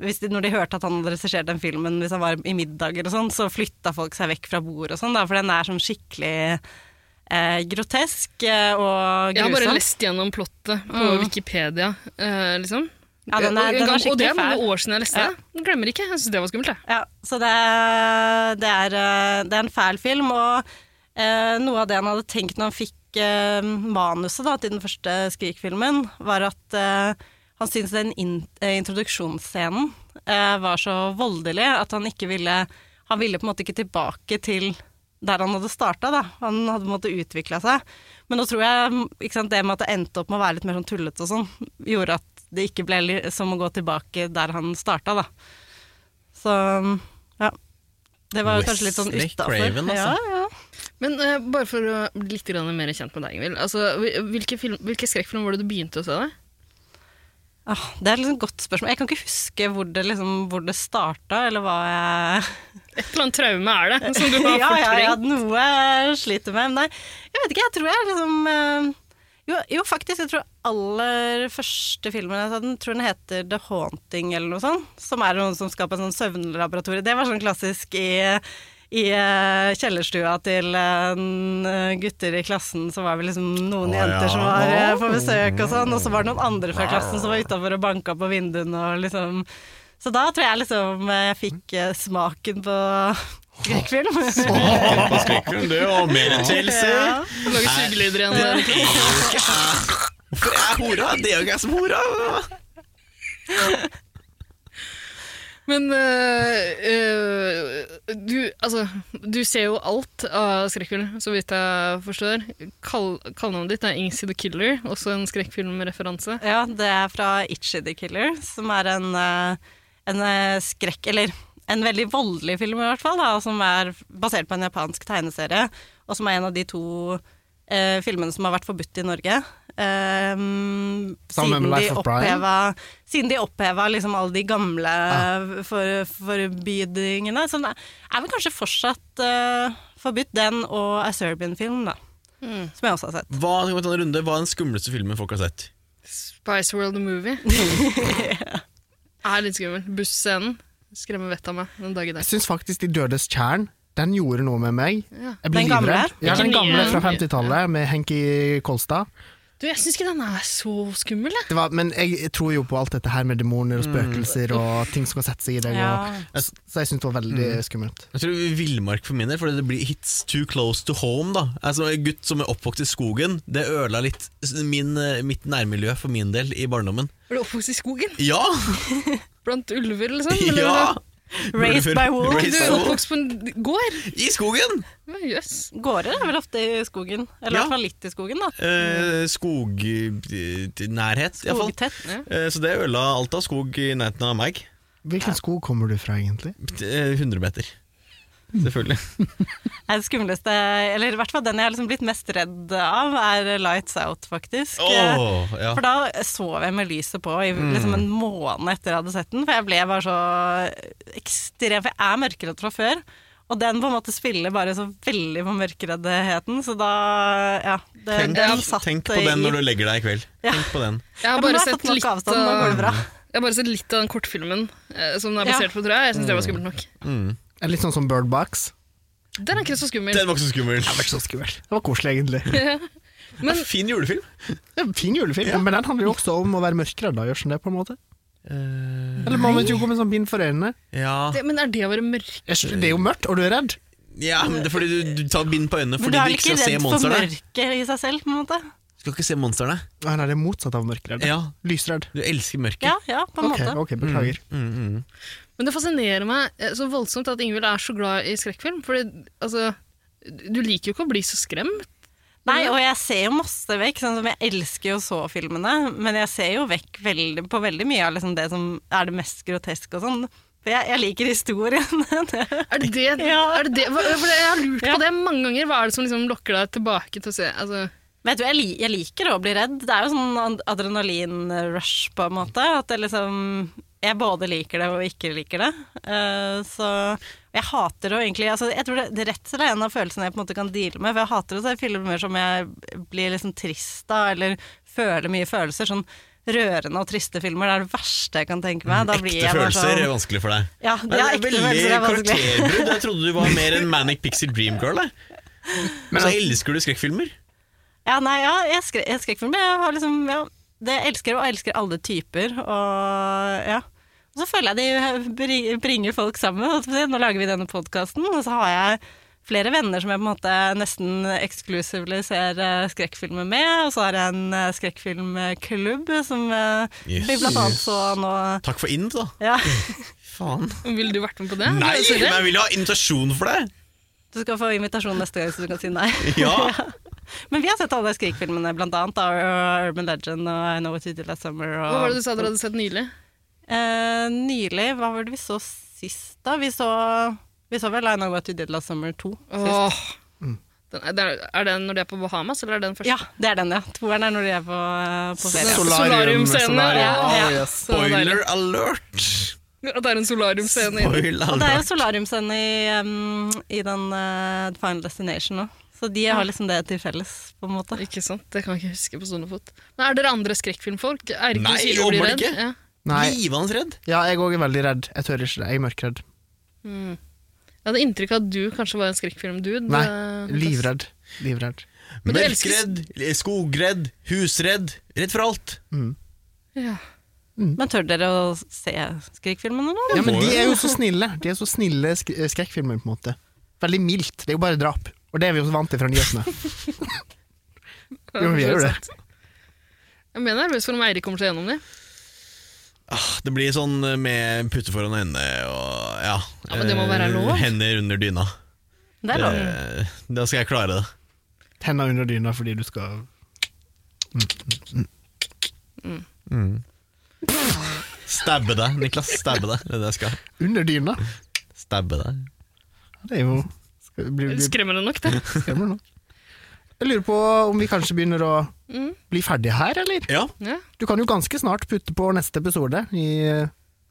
hvis de, når de hørte at han hadde regissert den filmen hvis han var i middager og sånn, så flytta folk seg vekk fra bordet og sånn, da, for den er sånn skikkelig eh, grotesk eh, og grusom.
Jeg har bare lest gjennom plottet på Wikipedia, eh, liksom.
Mm. Ja, den er-
Og
den
en
er
gang- og det
skikkelig
er mange
fæl.
år siden jeg leste
Ja.
det. Jeg Glemmer ikke. Jeg syns det var skummelt, jeg.
Ja, så det, det, er, eh, det er en fæl film, og eh, noe av det han hadde tenkt når han fikk eh, manuset da, til den første Skrik-filmen, var at eh, han syntes den in eh, introduksjonsscenen eh, var så voldelig at han ikke ville Han ville på en måte ikke tilbake til der han hadde starta, da. Han hadde på en måte utvikla seg. Men nå tror jeg ikke sant, det med at det endte opp med å være litt mer sånn tullete og sånn, gjorde at det ikke ble li- som å gå tilbake der han starta, da. Så ja. Det var jo kanskje litt sånn
Wesley
utafor.
Craven, altså.
ja, ja.
Men eh, bare for å bli litt grann mer kjent med deg, Ingvild. Altså, hvil- hvilke, film, hvilke skrekkfilm var det du begynte å se? det?
Ah, det er liksom et godt spørsmål. Jeg kan ikke huske hvor det, liksom, hvor det starta, eller hva jeg
Et eller annet traume er det, som du
ja,
har
ja, ja,
fortrengt.
noe jeg sliter med. Men nei, jeg vet ikke, jeg tror jeg liksom eh, jo, jo, faktisk, jeg tror aller første filmen jeg så, den tror den heter The Haunting eller noe sånt. Som er noen som skal på en sånn søvnlaboratorium. Det var sånn klassisk i, i eh, kjellerstua til eh, gutter i klassen, så var vi liksom noen
Å,
jenter
ja.
som var eh, på besøk og sånn. Og så var det noen andre fra klassen som var utafor og banka på vinduene og liksom Så da tror jeg liksom eh, jeg fikk eh, smaken på skrekkfilm.
På skrekken, det og mer til, se.
Ja.
Lage sugelyder igjen. der.
Hvorfor er jeg hora? Det er jo ikke jeg som hora.
Men eh, eh, du, altså, du ser jo alt av skrekkfilm, så vidt jeg forstår. Kall, Kallenavnet ditt er Ingsi the Killer, også en skrekkfilmreferanse.
Ja, det er fra Itchy the Killer, som er en, eh, en eh, skrekk Eller en veldig voldelig film, i hvert fall, da, som er basert på en japansk tegneserie, og som er en av de to eh, filmene som har vært forbudt i Norge. Eh,
Sammen med
siden
Life
de
of Brian?
oppheva- Siden de oppheva liksom alle de gamle eh,
Ah.
for, forbydingene. Så den er, er vel kanskje fortsatt eh, forbudt, den og A Serbian Film, da. Som jeg også har sett.
Hva, skal vi ta en runde, hva er den skumleste filmen folk har sett?
Spice World the Movie. Er litt skummel. Busscenen skremmer vettet av meg den dag i
Jeg
dag.
syns faktisk De dødes tjern den gjorde noe med meg.
Ja.
Jeg ble
Den gamle?
livredd. Ja,
Ikke
den
nye.
gamle fra 50-tallet med Henki Kolstad.
Du, jeg syns ikke den er så skummel, jeg.
Det var, men jeg tror jo på alt dette her med demoner og
Mm.
spøkelser og ting som kan sette seg i deg.
Ja.
Og, så jeg syns det var veldig
Mm.
skummelt.
Jeg tror Villmark for min del, fordi det blir hits too close to home. da Altså En gutt som er oppvokst i skogen, det ødela litt min, eh, mitt nærmiljø for min del i barndommen.
Var du oppvokst i skogen?
Ja!
Blant ulver, liksom? Eller
ja
hva?
Raised by wolves.
Du
Raised by
er
wolves.
oppvokst på en gård?
I skogen!
Ja, Jøss.
Gårder er vel ofte i skogen, eller i
Ja.
hvert fall litt i skogen, da.
Eh, Skognærhet, iallfall.
Skogtett.
Eh, så det ødela alt av skog i nærheten av meg.
Hvilken skog kommer du fra, egentlig?
Eh, 100 meter. Selvfølgelig.
Nei, Det skumleste, eller i hvert fall den jeg er liksom blitt mest redd av, er Lights Out, faktisk. Eh,
Åh, ja. Mm.
For da sov jeg med lyset på i liksom en måned etter jeg hadde sett den, for jeg ble bare så ekstrem, for jeg er mørkeredd fra før. Og den på en måte spiller bare så veldig på mørkereddheten, så da Ja. Det,
Tenk,
den satt
tenk på den når du legger deg i kveld.
Ja.
Tenk på den.
Jeg
Ja,
har
men nå har
bare
jeg
sett
fått nok
litt
avstand, nå går det
av
bra.
jeg har bare sett litt av den kortfilmen eh, som den er
Ja.
basert på, tror jeg. Jeg syns det
Mm.
var skummelt nok.
Er det Litt sånn som Bird Box.
Den er ikke så skummel.
Den var ikke så skummel.
Det var ikke så skummelt. Det var koselig, egentlig.
Men
Fin julefilm.
Det er en fin julefilm, men den handler jo også om å være mørkredd, da, gjør den det, på en måte? Eller man vet jo ikke om en sånn bind for øynene.
Ja,
det, men er det å være mørk?
Jeg skjønner, Det er jo mørkt, og du er redd.
ja men det er fordi du, du tar bind på øynene
Men du
fordi du
er vel
ikke
ikke
skal se
redd for
monstrene.
mørket i seg selv, på en måte?
Du skal ikke se monstrene.
Nei, nei, det er motsatt av mørkredd.
Ja,
Lysredd.
du elsker mørket.
Ja, ja, på en
Ok,
måte.
ok, beklager.
Mm, mm.
Men det fascinerer meg eh, så voldsomt at Ingvild er så glad i skrekkfilm. Fordi, altså, du liker jo ikke å bli så skremt.
Nei, og jeg ser jo masse vekk, sånn som jeg elsker jo så filmene, men jeg ser jo vekk veldig, på veldig mye av liksom det som er det mest groteske og sånn. For jeg, jeg liker historien. Det-
Er det det?
Ja.
Er det det? Hva, for jeg har lurt
Ja.
på det mange ganger. Hva er det som liksom lokker deg tilbake til å se altså,
Men jeg, tror jeg, li- jeg liker å bli redd. Det er jo sånn ad- adrenalin-rush, på en måte. At jeg liksom Jeg både liker det og ikke liker det. Eh, så Jeg hater det jo egentlig altså, Jeg tror det, det redsel er en av følelsene jeg på en måte kan deale med. For jeg hater det så jeg filmer som jeg blir liksom trist av, eller føler mye følelser. Sånn rørende og triste filmer. Det er det verste jeg kan tenke meg. Da blir
Mm, Ekte
jeg bare
følelser er
sånn
vanskelig for deg.
Ja, det er ekte
veldig
følelser er vanskelig.
karakterbrudd. Jeg trodde du var mer en Manic Pixie Dream Girl. jeg. Men så elsker du skrekkfilmer.
Ja, nei, ja, jeg, skrek, jeg skrekkfilmer. Jeg har liksom, ja, det jeg elsker, og jeg elsker alle typer. Og ja. Og så føler jeg de bri- bringer folk sammen. holdt jeg på å si. Nå lager vi denne podkasten, og så har jeg flere venner som jeg på en måte nesten exclusively ser eh, skrekkfilmer med. Og så har jeg en eh, skrekkfilmklubb som eh,
Yes.
vi blant annet så nå
Takk for inn, da.
Ja,
Faen.
Ville du vært med på det?
Nei,
Vil du se
men
det?
jeg vil ha invitasjon for det!
du skal få invitasjon neste gang, så du kan si nei.
Ja.
Men vi har sett alle skrekkfilmene, blant annet. Da, og Urban Legend og I Know What You Did Last Summer. Og
Hva var det du sa dere hadde sett nylig?
Eh, nylig, hva var det vi så sist da? Vi så, vi så vel I Know What You Did Last Summer 2 sist.
Åh.
Mm.
Den er, den er- er den når de er på Bahamas, eller er den først?
Ja, det er den, ja. Toeren er når de er på, eh, på ferie.
Så- Solarium-scene,
solarium.
ja,
Oh,
ja.
yes.
Så deilig.
Spoiler alert!
At det er en solariumscene i den.
Spoiler
Og det er jo
alert.
solariumscene i, um, i den eh, Final Destination nå. Så de har liksom det til felles, på en måte.
Ikke sant? Det kan jeg ikke huske på stående fot. Men er dere andre skrekkfilmfolk? Eirik, du
Nei,
sier du blir
åpenbart
redd.
ikke.
Ja.
Nei,
Livende redd.
ja, jeg òg er veldig redd. Jeg tør ikke det. Jeg er mørkredd.
Jeg hadde inntrykk av at du kanskje var en skrekkfilmdude.
Nei,
Det-
livredd. Livredd.
Men du elsker-
Mørkredd, skogredd, husredd. Redd for alt.
Ja.
Men tør dere å se skrekkfilmene nå?
Ja, men de er jo så snille. De er så snille sk eh, skrekkfilmer, på en måte. Veldig mildt. Det er jo bare drap. Og det er vi jo så vant til fra nyhetene. Jo, men vi gjør jo det.
Jeg mener jeg er nervøs for om Eirik kommer seg gjennom det.
Ah, det blir sånn med putte foran hendene og ja.
Ja, men det må
eh,
være lov.
Hender under dyna.
Det er lov.
Eh, Da skal jeg klare det.
Henda under dyna fordi du skal
Stabbe deg, Niklas. Stabbe deg. Det er det jeg skal.
Under dyna?
Stabbe deg.
Det er jo skal bli, bli
Skremmende nok, det.
skremmende nå. Jeg lurer på om vi kanskje begynner å
Mm.
bli ferdig her, eller?
Ja,
Ja.
Du kan jo ganske snart putte på neste episode i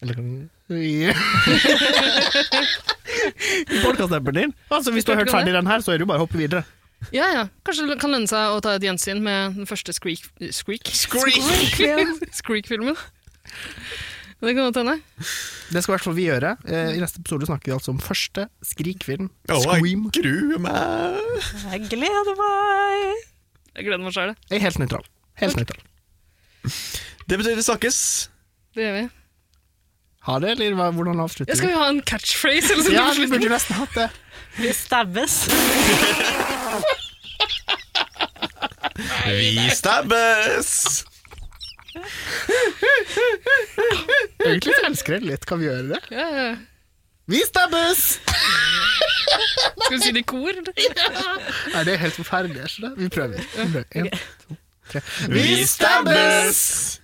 Eller kan i, i podkastappen din. Altså, hvis du har hørt ferdig den her, så er det jo bare å hoppe videre.
ja, ja. Kanskje det kan lønne seg å ta et gjensyn med den første Skreak... Skreak? Skreak-filmen. Det kan godt hende.
Det skal i hvert fall vi gjøre. Eh, I neste episode snakker vi altså om første Skrik-film.
Å,
Scream.
jeg gruer meg.
Jeg gleder meg!
Jeg gleder meg sjæl, det.
Jeg er helt nøytral. Helt nøytral.
Det betyr vi snakkes.
Det gjør vi.
Ha det, eller hva- hvordan avslutter
Ja, skal vi ha en catchphrase? Eller sånn
Ja, vi
på slutten?
burde nesten hatt det.
Vi stabbes.
Vi stabbes!
Egentlig så elsker jeg det litt. Kan vi gjøre det?
Ja, ja.
Vi stabbes!
Skal vi si det i kor? Eller?
Nei, det er helt forferdelig. er ikke det? Vi prøver. Vi prøver. En, to, tre.
Vi stabbes!